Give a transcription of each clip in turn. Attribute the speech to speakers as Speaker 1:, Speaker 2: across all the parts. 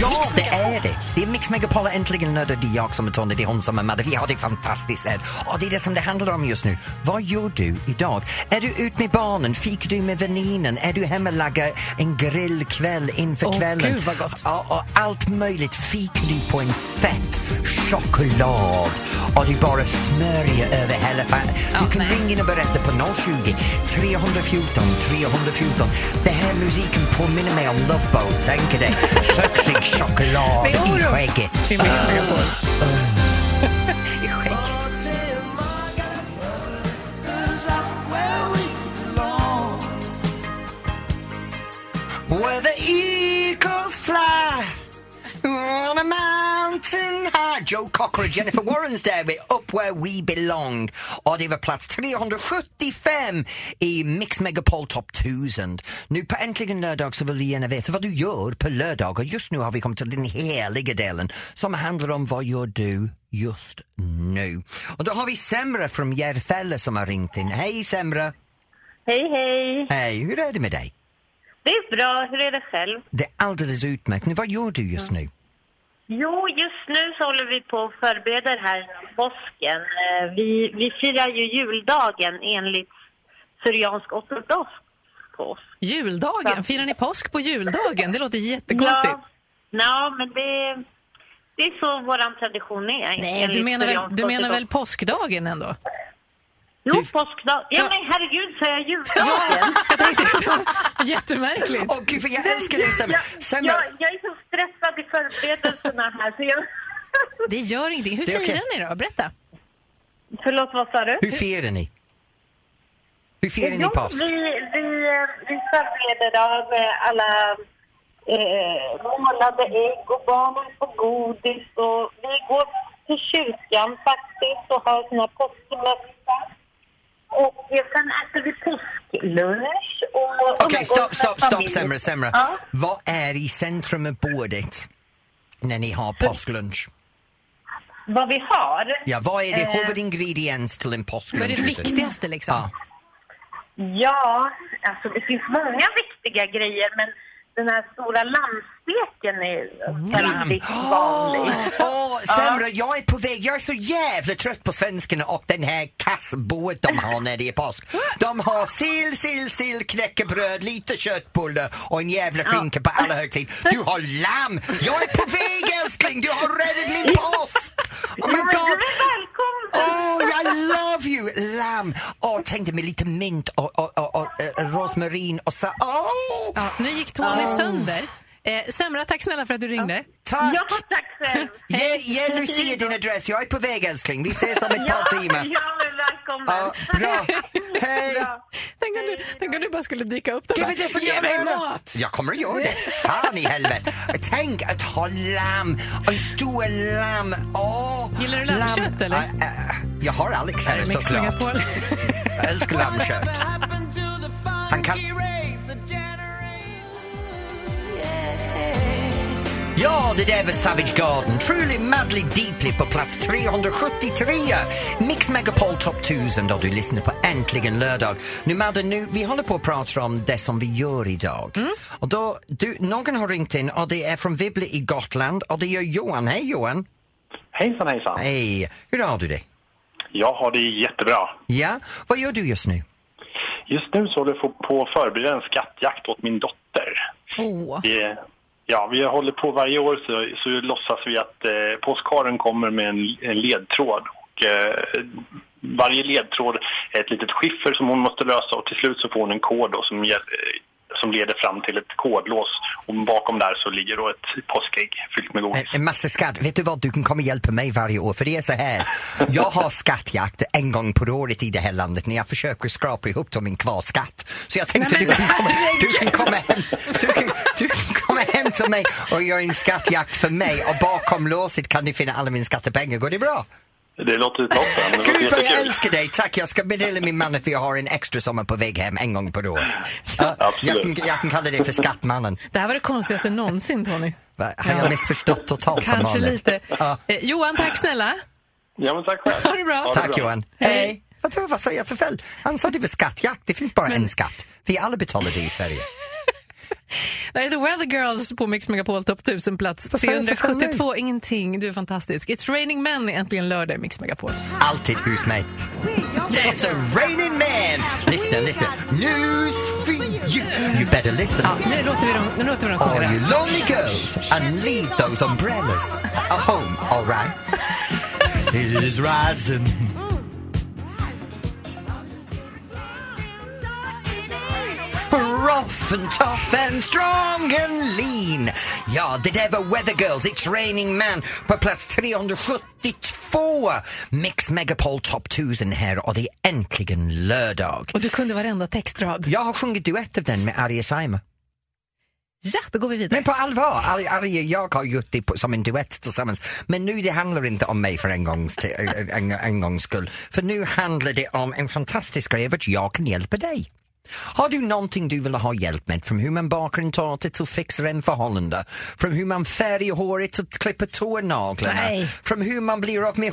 Speaker 1: Ja, det är det! Det är Mix Megapol äntligen lördag. Det är jag som är Tony, det är hon som är Madde. Vi har det fantastiskt här. Och det är det som det handlar om just nu. Vad gör du idag? Är du ut med barnen? Fikar du med väninen? Är du hemma och lagar en grillkväll inför
Speaker 2: Åh,
Speaker 1: kvällen?
Speaker 2: gud, vad gott.
Speaker 1: Ja, och allt möjligt. Fikar du på en fett choklad och du bara smörjer över hela fan.
Speaker 2: Ja,
Speaker 1: du kan
Speaker 2: nej.
Speaker 1: ringa in och berätta på 020 314 314. Det här musiken påminner mig om Love Boat, tänker dig. Sexig choklad
Speaker 2: Med
Speaker 1: i
Speaker 2: oro.
Speaker 1: skägget.
Speaker 2: Till Mix Megapol. I skägg.
Speaker 1: Where the eagles fly on a mountain high Joe Cocker och Jennifer Warrens där med Up where we belong. Och det var plats 375 i Mix Megapol Top 1000. Nu på Äntligen lördag så vill vi gärna veta vad du gör på lördag och just nu har vi kommit till den heliga delen som handlar om vad gör du just nu. Och då har vi Semra från Järfälla som har ringt in. Hej Semra!
Speaker 3: Hej, hej!
Speaker 1: Hej, hur är det med dig?
Speaker 3: Det är bra. Hur är det själv?
Speaker 1: Det är alldeles utmärkt. Nu, vad gör du just nu?
Speaker 3: Jo, just nu så håller vi på och förbereder här inom påsken. Eh, Vi, vi firar ju juldagen enligt syriansk ortodox påsk.
Speaker 4: Juldagen? Firar ni påsk på juldagen? Det låter jättekonstigt.
Speaker 3: Ja, ja, men det, det är så vår tradition är.
Speaker 4: Nej,
Speaker 3: enligt
Speaker 4: du menar, väl,
Speaker 3: syriansk
Speaker 4: du menar väl
Speaker 3: ortodox.
Speaker 4: påskdagen ändå?
Speaker 3: Jo, påskdag. Ja,
Speaker 4: Ja.
Speaker 3: men herregud, säger jag juldagen?
Speaker 4: Jättemärkligt.
Speaker 1: Åh gud, för jag älskar dig Semra! Semra,
Speaker 3: jag, jag är så stressad i förberedelserna här så jag...
Speaker 4: Det gör ingenting. Hur
Speaker 1: Det är
Speaker 4: firar
Speaker 1: okej.
Speaker 4: ni då? Berätta.
Speaker 3: Förlåt, vad sa du?
Speaker 1: hur firar ni? Hur firar ni
Speaker 3: Jo,
Speaker 1: påsk?
Speaker 3: Vi, vi, eh, vi förbereder av eh, alla eh, målade ägg och barnen får godis. Och vi går till kyrkan faktiskt och har sån här påskmässa. Och eh, sen äter vi påsklunch. och
Speaker 1: Okej,
Speaker 3: umgås
Speaker 1: stopp,
Speaker 3: med
Speaker 1: stopp, stopp
Speaker 3: familjen.
Speaker 1: Semra, Semra.
Speaker 3: Ja.
Speaker 1: Vad är i centrum av bordet när ni har påsklunch?
Speaker 3: Vad vi har?
Speaker 1: Ja, vad är det
Speaker 3: Eh.
Speaker 1: huvudingrediens till en
Speaker 4: Vad
Speaker 1: påsklunch?
Speaker 4: är det
Speaker 1: Susie?
Speaker 4: viktigaste liksom?
Speaker 1: Ja.
Speaker 3: Ja, alltså det finns många viktiga grejer men den här stora lammsteken är
Speaker 1: Mm.
Speaker 3: väldigt vanlig.
Speaker 1: Oh Åh, Semra, jag är på väg. Jag är så jävla trött på svenskarna och den här kassbordet de har när det är påsk. De har sill, sill, sill, knäckebröd, lite köttbullar och en jävla skinka på alla högtid. Du har lamm! Jag är på väg älskling! Du har räddat min påsk! Oh my
Speaker 3: Men du
Speaker 1: god!
Speaker 3: är välkommen!
Speaker 1: Oh, I love you, lamm! Åh, tänk dig med lite mint och, och, och, och eh, rosmarin och så... Åh!
Speaker 4: Ja, nu gick Tony sönder. Eh, Semra, tack snälla för att du ringde.
Speaker 1: Tack!
Speaker 3: Ja, tack själv.
Speaker 1: Ge, ge Lucia din adress, jag är på väg älskling. Vi ses om ett par
Speaker 3: ja,
Speaker 1: timmar.
Speaker 3: men välkommen.
Speaker 1: Ja, bra. Hej!
Speaker 3: Ja.
Speaker 4: Tänk om, du, tänk om du bara skulle dyka upp
Speaker 1: Det
Speaker 4: där
Speaker 1: var det som jag
Speaker 4: mig
Speaker 1: menade.
Speaker 4: mat!
Speaker 1: Jag kommer att göra det. Fan i helvete. Tänk att ha lamm. En stor lamm. Åh,
Speaker 4: Gillar du lammkött,
Speaker 1: lamm.
Speaker 4: eller?
Speaker 1: Äh, äh, jag har Alex
Speaker 4: Här
Speaker 1: här
Speaker 4: är Mix
Speaker 1: såklart.
Speaker 4: Megapol.
Speaker 1: Jag älskar lammkött. Han kan... Ja, det där var Savage Garden. Truly Madly Deeply på plats 373. Mix Megapol Top 1000 och du lyssnar på Äntligen lördag. Nu Madde, nu, vi håller på att prata om det som vi gör idag. Och då, du, någon har ringt in och det är från Vibble i Gotland och det är Johan. Hej Johan!
Speaker 5: Hejsan hejsan.
Speaker 1: Hej! Hur har du det?
Speaker 5: Jag har det jättebra.
Speaker 1: Ja, vad gör du just nu?
Speaker 5: Just nu så håller jag på att förbereda en skattjakt åt min dotter.
Speaker 4: Åh,
Speaker 5: Vi, ja, vi håller på varje år så, så låtsas vi att eh, påskharen kommer med en, en ledtråd. Och, eh, varje ledtråd är ett litet skiffer som hon måste lösa och till slut så får hon en kod då som, gäll- eh, som leder fram till ett kodlås. Och bakom där så ligger då ett påskägg fyllt med
Speaker 1: En,
Speaker 5: godis.
Speaker 1: en massa skatt. Vet du vad, du kan komma och hjälpa mig varje år för det är så här. Jag har skattjakt en gång per året i det här landet när jag försöker skrapa ihop till min kvarskatt. Så jag tänkte du, kan komma, du kan komma hem du kan, du kan komma hem till mig och göra en skattjakt för mig och bakom låset kan du finna alla mina skattepengar. Går det bra?
Speaker 5: Det låter toppen. Det låter
Speaker 1: eh. Gud vad jag
Speaker 5: jättekul.
Speaker 1: älskar dig, tack. Jag ska meddela min man att vi har en extra sommar på väg hem en gång per år. Ja, jag, kan,
Speaker 5: Absolut.
Speaker 1: jag kan kalla det för Skattmannen.
Speaker 4: det här var det konstigaste någonsin Tony.
Speaker 1: Va, Har jag
Speaker 4: Ja.
Speaker 1: missförstått totalt som
Speaker 4: Kanske
Speaker 1: vanligt?
Speaker 4: lite.
Speaker 1: Ja.
Speaker 4: Eh, Johan, tack snälla.
Speaker 5: Ja, men tack själv.
Speaker 4: Ha det bra.
Speaker 1: Tack
Speaker 5: bra.
Speaker 1: Johan. Hej. Vadå, vad säger jag för fel? Han sa det var skattjakt. Det finns bara en skatt. Vi alla betalar det i Sverige.
Speaker 4: Det här heter Weather Girls på Mix Megapol topp 1000 plats
Speaker 1: sa jag för
Speaker 4: 372. Ingenting. Du är fantastisk. It's raining men är äntligen lördag i Mix Megapol.
Speaker 1: Alltid hos mig. It's a raining man! Lyssna, lyssna. News for you! You better listen.
Speaker 4: Ja, nu låter vi dem, nu låter vi dem sjunga
Speaker 1: All
Speaker 4: det
Speaker 1: you
Speaker 4: här.
Speaker 1: lonely girls, and leave those umbrellas at home, all right? It is rising. Rough and tough and strong and lean. Ja, det där var Weather Girls, It's Raining Man på plats 372. Mix Megapol Top 1000 här och det är äntligen lördag.
Speaker 4: Och du kunde varenda textrad.
Speaker 1: Jag har sjungit duett av den med Arje Saijonmaa.
Speaker 4: Ja, då går vi vidare.
Speaker 1: Men på allvar, Ar- Arje och jag har gjort det på- som en duett tillsammans. Men nu det handlar inte om mig för en gångs, till, en, en, en gångs skull. För nu handlar det om en fantastisk grej av att jag kan hjälpa dig. Har du någonting du vill ha hjälp med? Från hur man bakar en tårta till fixar en förhållande. Från hur man färgar håret till att klippa tånaglarna.
Speaker 4: Nej.
Speaker 1: Från hur man blir av med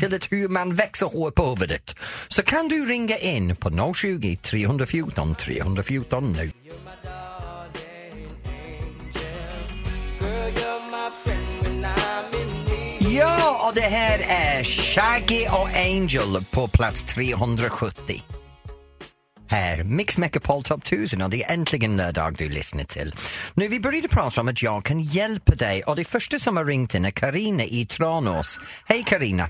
Speaker 1: till att hur man växer hår på huvudet. Så kan du ringa in på 020 314 314 nu. Ja, och det här är Shaggy och Angel på plats 370. Här, Mix Megapol Top 1000 och det är äntligen lördag du lyssnar till. Nu, vi började prata om att jag kan hjälpa dig och det första som har ringt in är Karina i Tranås. Hej Karina!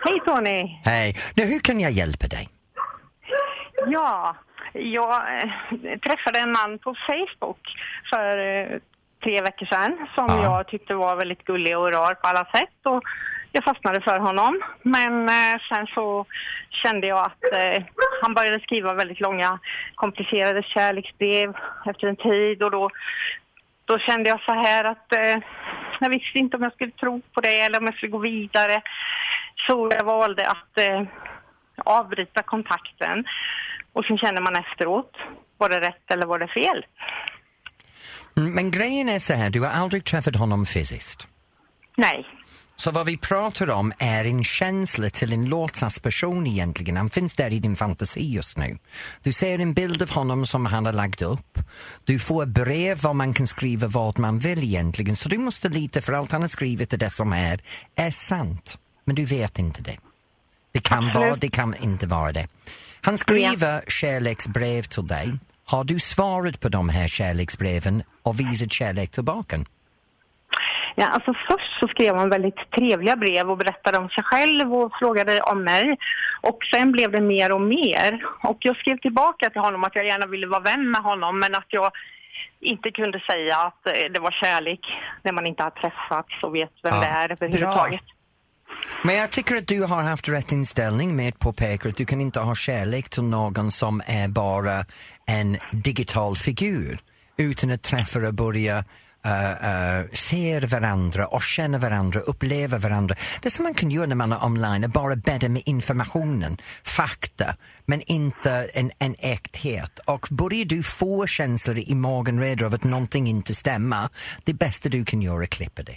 Speaker 6: Hej Tony!
Speaker 1: Hej! Nu, hur kan jag hjälpa dig?
Speaker 6: Ja, jag eh, träffade en man på Facebook för eh, tre veckor sedan som
Speaker 1: Ja.
Speaker 6: jag tyckte var väldigt gullig och rar på alla sätt och jag fastnade för honom. Men eh, sen så kände jag att eh, han började skriva väldigt långa komplicerade kärleksbrev efter en tid och då, då kände jag så här att eh, jag visste inte om jag skulle tro på det eller om jag skulle gå vidare. Så jag valde att eh, avbryta kontakten och sen känner man efteråt, var det rätt eller var det fel?
Speaker 1: Mm, Men grejen är så här, du har aldrig träffat honom fysiskt.
Speaker 6: Nej.
Speaker 1: Så vad vi pratar om är en känsla till en låtsasperson egentligen. Han finns där i din fantasi just nu. Du ser en bild av honom som han har lagt upp. Du får brev var man kan skriva vad man vill egentligen. Så du måste lita för allt han har skrivit och det som är, är sant. Men du vet inte det. Det kan vara, det kan inte vara det. Han skriver kärleksbrev till dig. Har du svarat på de här kärleksbreven och visat kärlek tillbaka?
Speaker 6: Ja, alltså först så skrev han väldigt trevliga brev och berättade om sig själv och frågade om mig. Och sen blev det mer och mer. Och jag skrev tillbaka till honom att jag gärna ville vara vän med honom men att jag inte kunde säga att eh, det var kärlek när man inte har träffats och vet vem
Speaker 1: Ja.
Speaker 6: det är överhuvudtaget.
Speaker 1: Men jag tycker att du har haft rätt inställning med att påpeka att du kan inte ha kärlek till någon som är bara en digital figur utan att träffa och börja eh, eh, se varandra och känna varandra, uppleva varandra. Det som man kan göra när man är online är bara bädda med informationen, fakta, men inte en, en äkthet. Och börjar du få känslor i magen redan av att någonting inte stämmer, det bästa du kan göra är att klippa det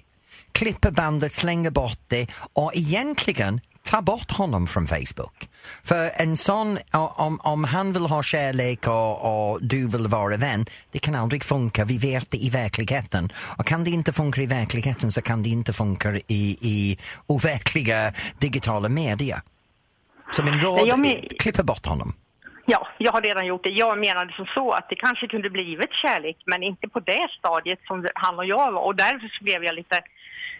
Speaker 1: klippa bandet, slänga bort det och egentligen ta bort honom från Facebook. För en sån, om, om han vill ha kärlek och, och du vill vara vän, det kan aldrig funka. Vi vet det i verkligheten. Och kan det inte funka i verkligheten så kan det inte funka i, i overkliga digitala medier. Så min råd
Speaker 6: Nej, jag
Speaker 1: är,
Speaker 6: men-
Speaker 1: klippa bort honom.
Speaker 6: Ja, jag har redan gjort det. Jag menade som så att det kanske kunde blivit kärlek men inte på det stadiet som han och jag var och därför så blev jag lite,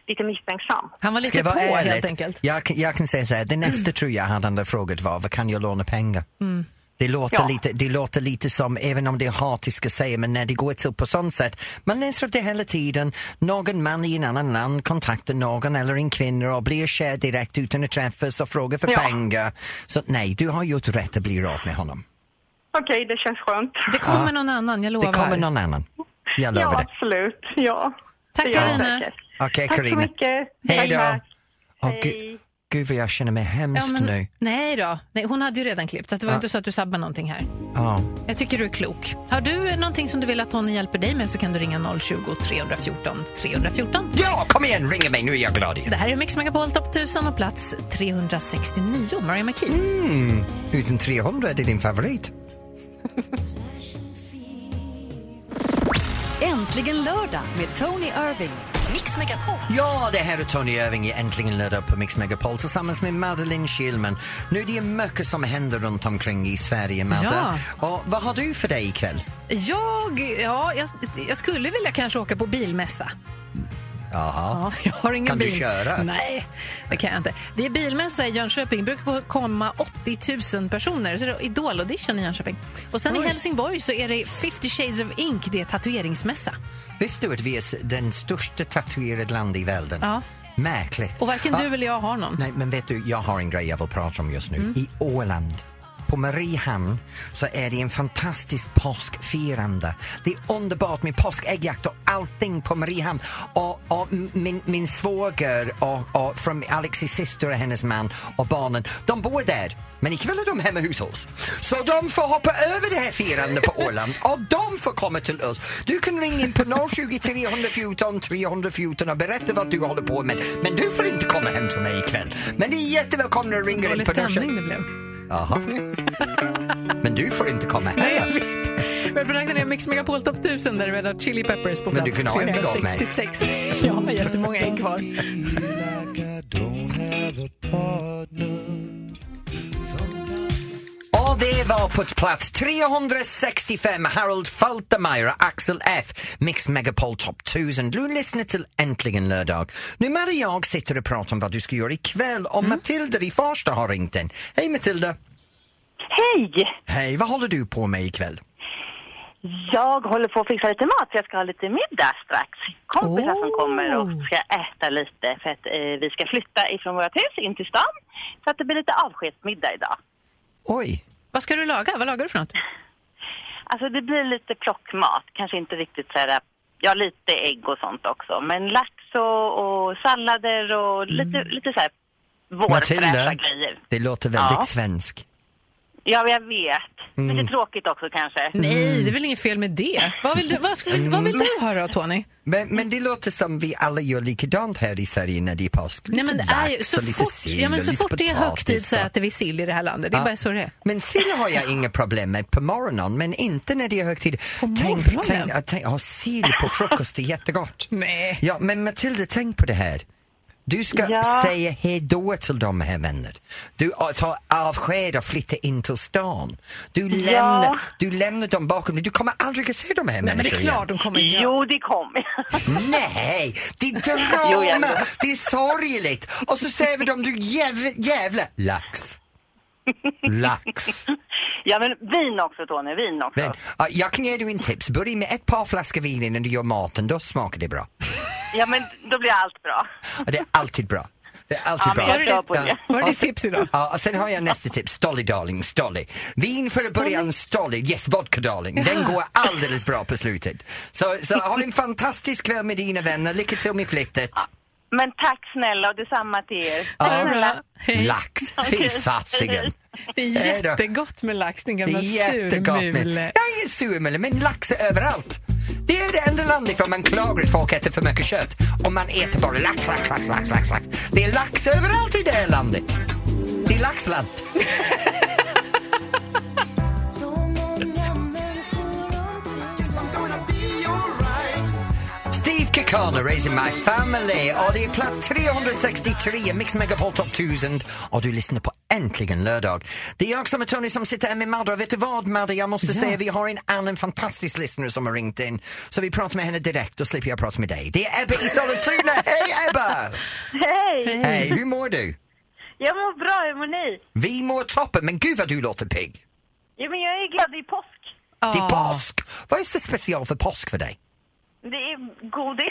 Speaker 6: lite misstänksam.
Speaker 4: Han var
Speaker 1: Ska
Speaker 4: lite
Speaker 1: jag
Speaker 4: på
Speaker 1: vara ärlig?
Speaker 4: helt enkelt.
Speaker 1: Jag, kan- jag kan säga så här, det nästa tror jag han hade frågat var, vad kan jag låna pengar? Det, låter
Speaker 6: Mm. Ja.
Speaker 1: lite, det låter lite som, även om det är hatiska säga, men när det går till på sånt sätt. Man läser av det hela tiden, någon man i en annan land kontaktar någon eller en kvinna och blir kär direkt utan att träffas och frågar för
Speaker 6: Ja.
Speaker 1: pengar. Så nej, du har gjort rätt att bli rart med honom.
Speaker 6: Okej, det känns skönt.
Speaker 4: Det kommer någon annan, jag
Speaker 1: Det
Speaker 4: lovar.
Speaker 1: kommer någon annan. Jag lovar
Speaker 6: Ja,
Speaker 1: det.
Speaker 6: absolut. Ja.
Speaker 4: Tack,
Speaker 6: Det gör jag
Speaker 4: Carina.
Speaker 6: säkert.
Speaker 1: Okej,
Speaker 6: Tack så
Speaker 1: Carina.
Speaker 6: mycket.
Speaker 1: Hej då.
Speaker 6: Tack,
Speaker 1: Åh,
Speaker 6: tack.
Speaker 1: gud,
Speaker 6: Hej.
Speaker 1: gud vad jag känner mig hemskt nu.
Speaker 4: nej då, nej, hon hade ju redan klippt. Så att det var
Speaker 1: Ja.
Speaker 4: inte så att du sabbar någonting här.
Speaker 1: Ja.
Speaker 4: Jag tycker du är klok. Har du någonting som du vill att hon hjälper dig med så kan du ringa 020 314 314.
Speaker 1: ja, kom igen, ringa mig, nu är jag glad igen.
Speaker 4: Det här är Mix Megapol Top 1000 och plats 369, Mariah McKee.
Speaker 1: Mm, utan 300 är det din favorit.
Speaker 7: Äntligen lördag med Tony Irving. Mix Megapol.
Speaker 1: Ja, det här är Tony Irving i Äntligen lördag på Mix Megapol tillsammans med Madeleine Kilman. Nu är det mycket som händer runt omkring i Sverige, Madde. Och vad har du för dig ikväll?
Speaker 4: Jag, ja, jag, jag skulle vilja kanske åka på bilmässa.
Speaker 1: Jaha.
Speaker 4: Ja, jag har ingen
Speaker 1: Kan du
Speaker 4: bil.
Speaker 1: köra?
Speaker 4: Nej, det kan jag inte. Det är bilmässa i Jönköping. Det brukar komma 80 000 personer. Så det är Idol-audition i Jönköping. Och sen i Helsingborg så är det 50 shades of ink. Det är tatueringsmässa.
Speaker 1: Visste du att vi är s- den största tatuerade land i världen?
Speaker 4: Ja.
Speaker 1: Märkligt.
Speaker 4: Och varken
Speaker 1: Va?
Speaker 4: du eller jag har någon.
Speaker 1: Nej, men vet du, jag har en grej jag vill prata om just nu. I Åland, på Mariehamn, så är det en fantastisk påskfirande. Det är underbart med påskäggjakt och allting på Mariehamn. Och, och m- min, min svåger och, och från Alexis syster och hennes man och barnen, de bor där. Men ikväll är de hemma hos oss. Så de får hoppa över det här firandet på Åland och de får komma till oss. Du kan ringa in på 020 314 314 och berätta vad du håller på med. Men du får inte komma hem till mig ikväll. Men det är jättevälkomna att ringa in
Speaker 4: Dålig
Speaker 1: på
Speaker 4: stämning
Speaker 1: 020.
Speaker 4: det blev.
Speaker 1: Jaha. Men du får inte komma
Speaker 4: Nej, jag
Speaker 1: hem.
Speaker 4: vet. Men på räkna ner Mix Megapol Top 1000 där vi har Chili Peppers på
Speaker 1: Men du
Speaker 4: plats
Speaker 1: kunde ha en ägg av mig.
Speaker 4: 366. Jag har jättemånga ägg kvar.
Speaker 1: Och det var på plats 365 Harold Faltermeier och Axel F. Mix Megapol Top 1000. Du lyssnar till Äntligen lördag. Nu Maria och jag sitter och pratar om vad du ska göra ikväll och Matilda i Farsta har ringt in. Hej Matilda!
Speaker 3: Hej!
Speaker 1: Hej, vad håller du på med ikväll?
Speaker 3: Jag håller på att fixa lite mat. Jag ska ha lite middag strax. Kompisar som kommer och ska äta lite för att eh, vi ska flytta ifrån vårt hus in till stan. Så att det blir lite avskedsmiddag idag.
Speaker 1: Oj!
Speaker 4: Vad ska du laga? Vad lagar du för något?
Speaker 3: Alltså det blir lite plockmat. Kanske inte riktigt så här, ja lite ägg och sånt också. Men lax och, och sallader och lite, lite så här vårfräscha
Speaker 1: Matilda,
Speaker 3: grejer.
Speaker 1: det låter väldigt
Speaker 3: Ja.
Speaker 1: svensk.
Speaker 3: Ja, jag vet.
Speaker 1: Mm.
Speaker 3: Lite tråkigt också kanske.
Speaker 4: Nej, det är väl inget fel med det. Vad vill du, vad, ska-
Speaker 1: Mm.
Speaker 4: vill, vad vill du ha då, Tony?
Speaker 1: Men, men det låter som vi alla gör likadant här i Sverige när det är påsk.
Speaker 4: Nej, men det är ju,
Speaker 1: lax
Speaker 4: så
Speaker 1: och lite
Speaker 4: fort,
Speaker 1: sill
Speaker 4: ja, men
Speaker 1: och
Speaker 4: så
Speaker 1: lite
Speaker 4: fort det är
Speaker 1: potatis
Speaker 4: högtid så
Speaker 1: och-
Speaker 4: äter vi sill i det här landet. Det är
Speaker 1: Ja.
Speaker 4: bara så det är.
Speaker 1: Men sill har jag inga problem med på morgonen, men inte när det är högtid.
Speaker 4: På
Speaker 1: tänk,
Speaker 4: morgonen?
Speaker 1: tänk, ja, tänk, ja, sill på frukost är jättegott.
Speaker 4: Nej.
Speaker 1: Ja, men Matilda, tänk på det här. Du ska
Speaker 3: Ja.
Speaker 1: säga hejdå till de här vänner. Du ah, tar avsked och flyttar in till stan. Du lämnar, du lämnar dem bakom dig. Du kommer aldrig att se de här
Speaker 4: Nej, men det är
Speaker 1: människorna
Speaker 4: klart de kommer göra.
Speaker 3: Jo, det kommer.
Speaker 1: Nej, det är
Speaker 3: Jo, jag
Speaker 1: drama,
Speaker 3: vet.
Speaker 1: det är sorgligt. Och så säger vi dem, du jävla, jävla lax. Lax.
Speaker 3: Ja, men vin också Tony, vin också.
Speaker 1: Men, ja, jag kan ge dig en tips. Börja med ett par flaskor vin innan du gör maten, då smakar det bra.
Speaker 3: Ja, men då blir allt bra.
Speaker 1: Och det är alltid bra. Det är alltid
Speaker 3: Ja, men
Speaker 1: bra.
Speaker 3: jag kör på det.
Speaker 4: Var det
Speaker 1: Och
Speaker 4: ditt
Speaker 1: sen-
Speaker 4: tips idag?
Speaker 1: Ja, och sen har jag nästa tips. Stolly darling, stolly. Vin för att börja en stolly. Yes, vodka darling. Den går alldeles bra på slutet. Så, så ha en fantastisk kväll med dina vänner. Lycka till med flyttet.
Speaker 3: Men tack snälla och detsamma till er.
Speaker 4: Ha det
Speaker 3: Tack snälla.
Speaker 4: bra. Hej.
Speaker 1: Lax, fy
Speaker 3: Okej.
Speaker 1: fasiken.
Speaker 4: Det är
Speaker 1: Hej då.
Speaker 4: jättegott med lax, din
Speaker 1: Det
Speaker 4: gamla
Speaker 1: är jättegott med... Jag
Speaker 4: surmule.
Speaker 1: är ingen surmule, men lax är överallt. Det är det enda landet ifrån man klagar att folk äter för mycket kött. Och man äter bara lax, lax, lax, lax, lax, lax. Det är lax överallt i det här landet. Det är laxland. Steve Kekana, Raising My Family. Och det är plats 363, Mix Megapol Top 1000. Och du lyssnar på Äntligen lördag. Det är jag som är Tony som sitter här med Madde. Och vet du vad Madde, jag måste säga vi har en annan fantastisk lyssnare som har ringt in. Så vi pratar med henne direkt, då slipper jag prata med dig. Det är Ebba i Sollentuna. Hej Ebba!
Speaker 3: Hej!
Speaker 1: Hej, hur mår du?
Speaker 3: Jag mår bra, hur mår ni?
Speaker 1: Vi mår toppen, men gud vad du låter pigg.
Speaker 3: Ja, men jag är glad, det är påsk.
Speaker 1: Det är påsk. Vad är det för special för påsk för dig?
Speaker 3: Det är godis.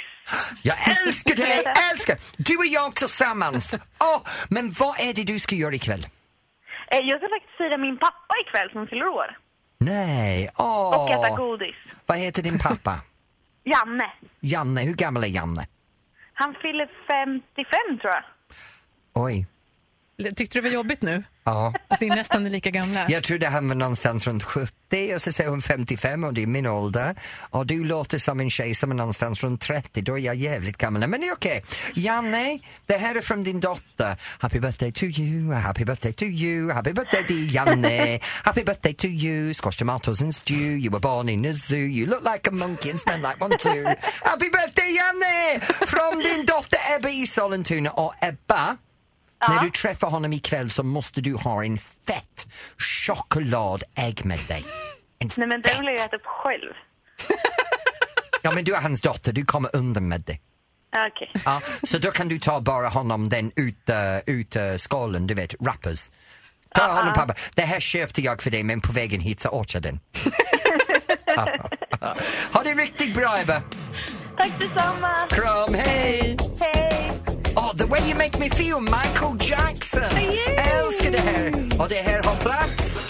Speaker 1: Jag älskar dig, älskar! Du och jag tillsammans. Åh, men vad är det du ska göra ikväll?
Speaker 3: Eh, Jag ska faktiskt fira min pappa ikväll som fyller år.
Speaker 1: Nej, åh.
Speaker 3: Och äta godis.
Speaker 1: Vad heter din pappa?
Speaker 3: Janne,
Speaker 1: Janne, hur gammal är Janne?
Speaker 3: han fyller 55 tror jag.
Speaker 1: Oj.
Speaker 4: Tyckte du det var jobbigt nu?
Speaker 1: Ja.
Speaker 4: Att ni nästan är lika gamla?
Speaker 1: Jag trodde han var någonstans runt 70 och så säger hon 55 och det är min ålder. Och du låter som en tjej som är någonstans runt 30, då är jag jävligt gammal. Men det är okej. Janne, det här är från din dotter. Happy birthday to you, happy birthday to you, happy birthday dear Janne. happy birthday to you, squash tomatoes and stew. You were born in a zoo, you look like a monkey and smell like one too. happy birthday Janne! Från din dotter Ebba i Sollentuna. Och Ebba, när du träffar honom ikväll så måste du ha en fett chokladägg med dig. En
Speaker 3: Nej, men den vill jag äta upp själv.
Speaker 1: Ja men du är hans dotter, du kommer undan med det.
Speaker 3: Ja, Okej.
Speaker 1: Ja, så då kan du ta bara honom den ut, uh, ut uh, skålen, du vet, rappers. Ta honom pappa. Det här köpte jag för dig men på vägen hit så åt jag den. ha det riktigt bra Ebba!
Speaker 3: Tack detsamma.
Speaker 1: Kram, hej!
Speaker 3: Hej!
Speaker 1: Oh, the way you make me feel, Michael Jackson! Älskar det här! Och det här har plats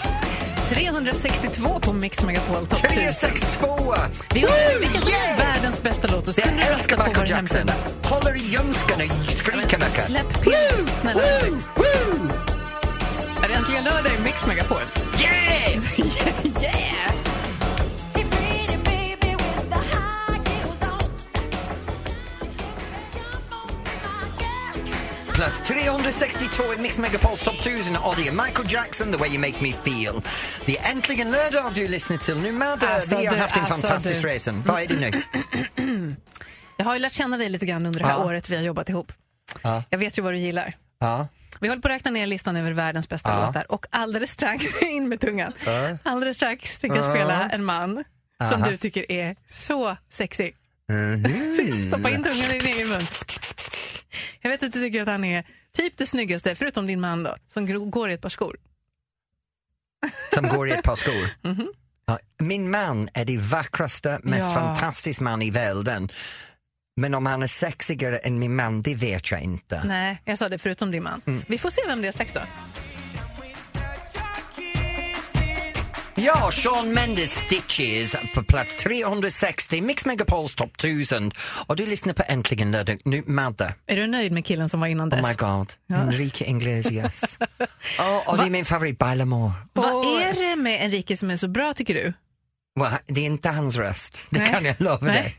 Speaker 4: 362 på Mix Megapol topp 1000.
Speaker 1: 362!
Speaker 4: Vi undrar vilken som är
Speaker 1: Yeah!
Speaker 4: världens bästa låt och så
Speaker 1: Jag
Speaker 4: kunde du rösta
Speaker 1: älskar
Speaker 4: på vår
Speaker 1: Michael Jackson.
Speaker 4: hemsida.
Speaker 1: Håller i ljumsken och skriker mycket.
Speaker 4: Släpp pillen,
Speaker 1: Woo!
Speaker 4: snälla.
Speaker 1: Woo! Woo!
Speaker 4: Är det äntligen lördag i Mix Megapol?
Speaker 1: Yeah!
Speaker 4: Yeah!
Speaker 1: Plats 362 i Mix Megapols topp 1000 och det är Michael Jackson, The Way You Make Me Feel. Det är äntligen lördag du lyssnar till nu, Madde.
Speaker 4: Alltså,
Speaker 1: vi har
Speaker 4: du,
Speaker 1: haft en
Speaker 4: alltså,
Speaker 1: fantastisk
Speaker 4: du.
Speaker 1: resa. Vad är det nu?
Speaker 4: Jag har ju lärt känna dig lite grann under det här
Speaker 1: Ja.
Speaker 4: året vi har jobbat ihop.
Speaker 1: Ja.
Speaker 4: Jag vet ju vad du gillar.
Speaker 1: Ja.
Speaker 4: Vi håller på att räkna ner listan över världens bästa
Speaker 1: Ja.
Speaker 4: låtar och alldeles strax, in med tungan,
Speaker 1: Ja.
Speaker 4: alldeles strax tänker jag spela en man som
Speaker 1: Aha.
Speaker 4: du tycker är så sexig.
Speaker 1: Mhm.
Speaker 4: Stoppa in tungan i din egen mun. Jag vet att du tycker att han är typ det snyggaste, förutom din man då, som gro- går i ett par skor.
Speaker 1: Som går i ett par skor. Ja, Min man är det vackraste, mest
Speaker 4: Ja.
Speaker 1: fantastiska man i världen. Men om han är sexigare än min man, det vet jag inte.
Speaker 4: Nej, jag sa det förutom din man.
Speaker 1: Mm.
Speaker 4: Vi får se vem det är strax då.
Speaker 1: Ja, Sean Mendes Stitches på plats 360, Mix Megapols topp 1000. Och du lyssnar på Äntligen lördag. Nu, Madde.
Speaker 4: Är du nöjd med killen som var innan dess?
Speaker 1: Oh my god, Enrique Iglesias. oh, och det är min favorit, Bailamore.
Speaker 4: Vad är det med Enrique som är så bra tycker du?
Speaker 1: Well, det är inte hans röst, det
Speaker 4: Nej.
Speaker 1: kan jag lova
Speaker 4: Nej.
Speaker 1: dig.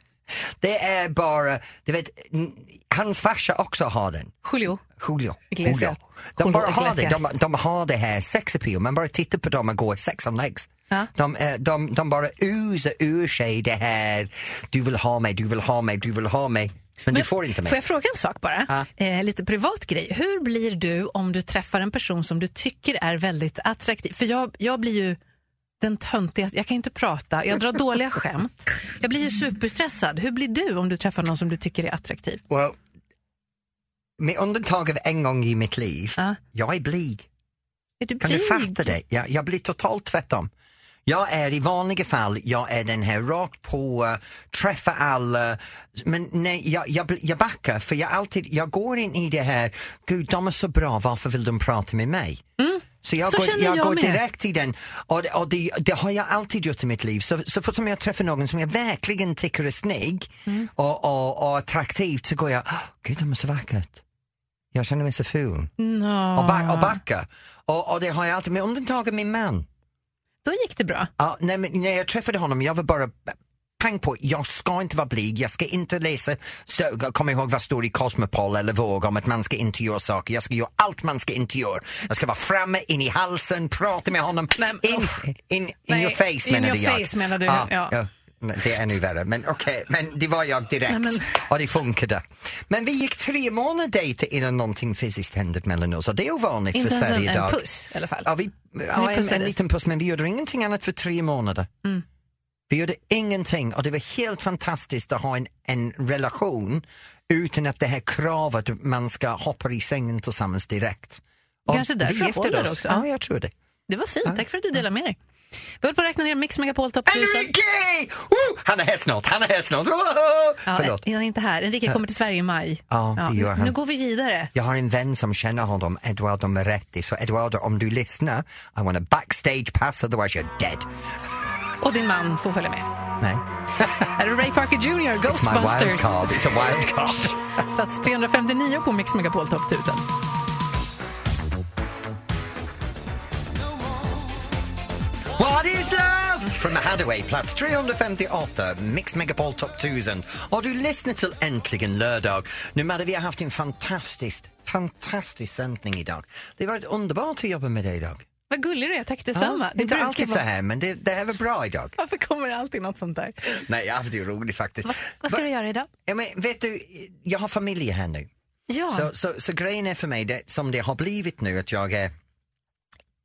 Speaker 1: Det är bara, du vet, n- hans farsa också har den.
Speaker 4: Julio?
Speaker 1: Julio.
Speaker 4: Iglesias.
Speaker 1: Julio.
Speaker 4: Julio
Speaker 1: De bara har det.
Speaker 4: Iglesias.
Speaker 1: De, de har det här sex appeal. Man bara tittar på dem och går sex on legs.
Speaker 4: Ja.
Speaker 1: De, eh, de, de bara osar ur sig det här, du vill ha mig, du vill ha mig, du vill ha mig. Men, du får inte mig.
Speaker 4: Får jag fråga en sak bara?
Speaker 1: Ja.
Speaker 4: Eh, lite privat grej. Hur blir du om du träffar en person som du tycker är väldigt attraktiv? För jag, jag blir ju den töntigaste. Jag kan ju inte prata, jag drar dåliga skämt. Jag blir ju superstressad. Hur blir du om du träffar någon som du tycker är attraktiv?
Speaker 1: Well, med undantag av en gång i mitt liv,
Speaker 4: Ja.
Speaker 1: jag är blyg.
Speaker 4: Är du
Speaker 1: Kan du
Speaker 4: blyg?
Speaker 1: fatta det? Jag, jag blir totalt tvärtom. Jag är i vanliga fall, jag är den här rakt på, eh, träffa alla, men nej, jag, jag, bli- jag backar för jag alltid, jag går in i det här, gud de är så bra, varför vill de prata med mig? Så jag
Speaker 4: Så
Speaker 1: går,
Speaker 4: känner
Speaker 1: jag
Speaker 4: jag
Speaker 1: går
Speaker 4: med.
Speaker 1: direkt i den och, det- och det, det har jag alltid gjort i mitt liv. Så, så fort som jag träffar någon som jag verkligen tycker är snygg och, och, och attraktivt så går jag, "Åh, gud de är så vackert. Jag känner mig så ful
Speaker 4: Nå.
Speaker 1: och, back, och backa. Och, och det har jag alltid, med undantag av min man.
Speaker 4: Då gick det bra.
Speaker 1: Ja, nej, men när jag träffade honom, jag var bara pang på, jag ska inte vara blyg, jag ska inte läsa, stö- kom ihåg vad står i Cosmopol eller Våg om att man ska inte göra saker, jag ska göra allt man ska inte göra. Jag ska vara framme, in i halsen, prata med honom,
Speaker 4: Nej, men
Speaker 1: in,
Speaker 4: uff.
Speaker 1: in, in,
Speaker 4: Nej,
Speaker 1: your face
Speaker 4: in
Speaker 1: menade
Speaker 4: your
Speaker 1: jag.
Speaker 4: face menar du, ja.
Speaker 1: Nej, Det är ännu värre, men okej, men det var jag direkt
Speaker 4: Nej, men-
Speaker 1: och det funkade. Men vi gick tre månader dejter innan någonting fysiskt hände mellan oss och det är ovanligt
Speaker 4: Inte
Speaker 1: för
Speaker 4: ens en,
Speaker 1: Sverige
Speaker 4: en
Speaker 1: idag.
Speaker 4: puss i alla fall.
Speaker 1: Ja, vi, ja, en, en
Speaker 4: pussades.
Speaker 1: liten puss, men vi gjorde ingenting annat för tre månader.
Speaker 4: Mm.
Speaker 1: Vi gjorde ingenting och det var helt fantastiskt att ha en, en relation utan att det här kravet att man ska hoppa i sängen tillsammans direkt. Och
Speaker 4: Kanske därför
Speaker 1: vi gifte
Speaker 4: håller
Speaker 1: oss.
Speaker 4: också.
Speaker 1: Ja, jag tror det.
Speaker 4: Det var fint, tack för att du delade med dig. Vi håller på att räkna ner Mix Megapol topp 1000.
Speaker 1: Enrique! Oh, han är här snart, han är här snart. Oh,
Speaker 4: Ja,
Speaker 1: Förlåt.
Speaker 4: han är inte här. Enrique kommer till Sverige i maj.
Speaker 1: Ja, det gör
Speaker 4: nu,
Speaker 1: han.
Speaker 4: nu går vi vidare.
Speaker 1: Jag har en vän som känner honom, Eduardo Moretti. Så Eduardo, om du lyssnar, I want a backstage pass otherwise you're dead.
Speaker 4: Och din man får följa med.
Speaker 1: Nej,
Speaker 4: Här är Ray Parker Jr,
Speaker 1: it's my wild
Speaker 4: Ghostbusters.
Speaker 1: card. It's a wild card.
Speaker 4: Plats 359 på Mix Megapol Top 1000.
Speaker 1: Please love! From Hadaway, plats 358, Mix Megapol Top 1000. Och du lyssnar till Äntligen lördag. Nu Madde, vi har haft en fantastisk, fantastisk sändning idag. Det har varit underbart att jobba med dig idag.
Speaker 4: Vad gullig du är, tack detsamma. Det
Speaker 1: inte
Speaker 4: brukar
Speaker 1: alltid
Speaker 4: vara-
Speaker 1: så här, men det, det här var bra idag.
Speaker 4: Varför kommer det alltid något sånt där?
Speaker 1: Nej, jag hade ju roligt faktiskt.
Speaker 4: Vad, vad ska
Speaker 1: Va-
Speaker 4: du göra idag?
Speaker 1: Ja, men vet du, jag har familj här nu.
Speaker 4: Ja,
Speaker 1: Så, så, så grejen är för mig, det, som det har blivit nu, att jag är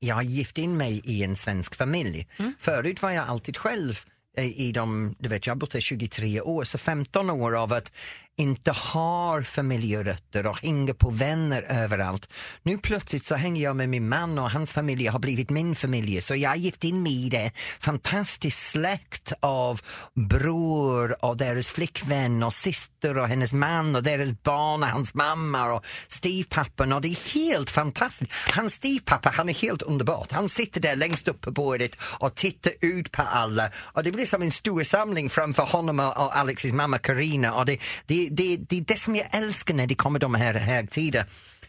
Speaker 1: jag har gift in mig i en svensk familj. Förut var jag alltid själv eh, i de, du vet jag har bott här 23 år, så 15 år av att inte ha familjerötter och hänga på vänner överallt. Nu plötsligt så hänger jag med min man och hans familj har blivit min familj så jag har gift in mig i det fantastiskt släkt av bror och deras flickvän och syster och hennes man och deras barn och hans mamma och styvpappan och det är helt fantastiskt. Hans styvpappa han är helt underbart. Han sitter där längst upp på bordet och tittar ut på alla och det blir som en stor samling framför honom och, och Alexis mamma Karina och det, det, det, det är det som jag älskar när det kommer de här högtider.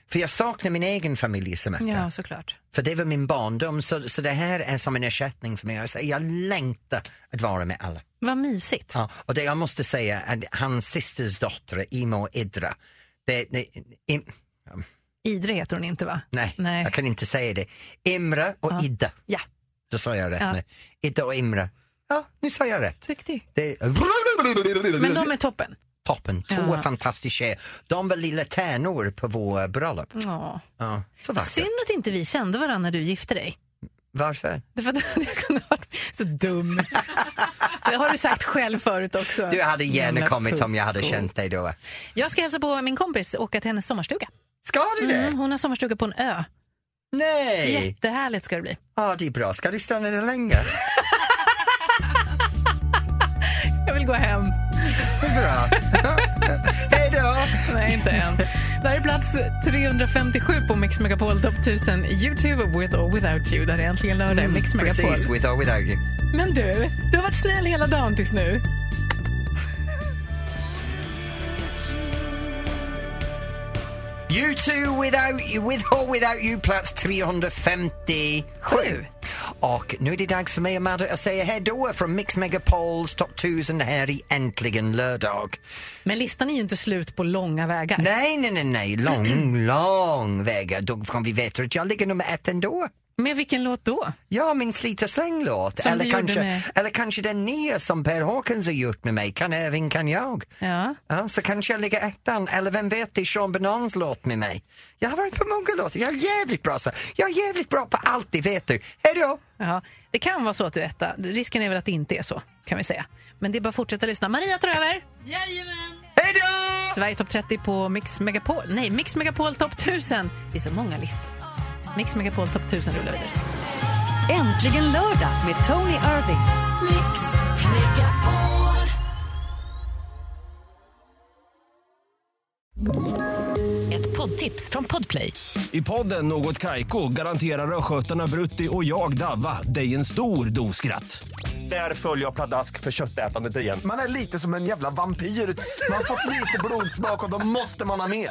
Speaker 1: För jag saknar min egen familj så mycket.
Speaker 4: ja såklart.
Speaker 1: För det var min barndom, så, så det här är som en ersättning för mig. Jag, säger, jag längtar att vara med alla.
Speaker 4: Vad mysigt.
Speaker 1: Ja, och det jag måste säga är att hans systers dotter, Imo Idra, det, det, im,
Speaker 4: Idre heter hon inte, va?
Speaker 1: nej,
Speaker 4: Nej.
Speaker 1: jag kan inte säga det. Imre och
Speaker 4: Ja.
Speaker 1: Idda,
Speaker 4: Ja,
Speaker 1: då sa jag rätt
Speaker 4: Ja.
Speaker 1: nu. Idda och Imre, ja, nu sa jag rätt.
Speaker 4: duktig.
Speaker 1: Det,
Speaker 4: Men de är toppen.
Speaker 1: Toppen, två
Speaker 4: Ja.
Speaker 1: fantastiska tjejer. De var lilla tärnor på vår bröllop.
Speaker 4: Ja.
Speaker 1: Ja, så vackert.
Speaker 4: Mm. Synd att inte vi kände varandra när du gifte dig.
Speaker 1: Varför?
Speaker 4: Det var att jag kunde ha varit så dum. Det har du sagt själv förut också.
Speaker 1: Du hade gärna
Speaker 4: Jävla
Speaker 1: kommit om jag hade
Speaker 4: pucko.
Speaker 1: känt dig då.
Speaker 4: Jag ska hälsa på min kompis och åka till hennes sommarstuga.
Speaker 1: Ska du det?
Speaker 4: Mm, hon har sommarstuga på en ö.
Speaker 1: Nej!
Speaker 4: Jättehärligt ska det bli.
Speaker 1: Ja, det är bra. Ska du stanna där länge?
Speaker 4: Jag vill gå hem.
Speaker 1: Det är bra. Hej då!
Speaker 4: Nej, inte än. Där är plats 357 på Mix Megapol Top 1000. Youtube with or without you. Där är äntligen lördag. Mix Megapol.
Speaker 1: Mm, Precis, with or without you.
Speaker 4: Men du, du har varit snäll hela dagen tills nu.
Speaker 1: You two without you, with or without you, plats 357.
Speaker 4: Sju.
Speaker 1: Och nu är det dags för mig och Madde att säga hej då från Mix Megapols Top 1000 här i Äntligen lördag.
Speaker 4: Men listan är ju inte slut på långa vägar.
Speaker 1: Nej, nej, nej, nej, lång, lång väg. Då kan vi veta att jag ligger nummer ett ändå.
Speaker 4: Med vilken låt då?
Speaker 1: Ja, min slita släng-låt.
Speaker 4: Som du
Speaker 1: Eller
Speaker 4: gjorde
Speaker 1: kanske,
Speaker 4: med-
Speaker 1: eller kanske den nya som Per Hawkins har gjort med mig, Kan även kan jag.
Speaker 4: Ja.
Speaker 1: Ja, så kanske jag ligger ettan, eller vem vet, det är Sean Benans låt med mig. Jag har varit på många låtar, jag är jävligt bra så. Jag är jävligt bra på allt, det vet du. Hej då!
Speaker 4: Ja, det kan vara så att du är etta. Risken är väl att det inte är så, kan vi säga. Men det är bara att fortsätta lyssna. Maria tar över.
Speaker 1: Hej då!
Speaker 4: Sverige topp 30 på Mix Megapol. Nej, Mix Megapol topp 1000. Det är så många listor. Mix Megapol topp 1000 rullar vidare.
Speaker 7: Äntligen lördag med Tony Irving. Ett poddtips från Podplay.
Speaker 8: I podden Något Kaiko garanterar östgötarna Brutti och jag, Davva, dig en stor dos skratt. Där följer jag pladask för köttätandet igen.
Speaker 9: Man är lite som en jävla vampyr. Man har fått lite blodsmak och då måste man ha mer.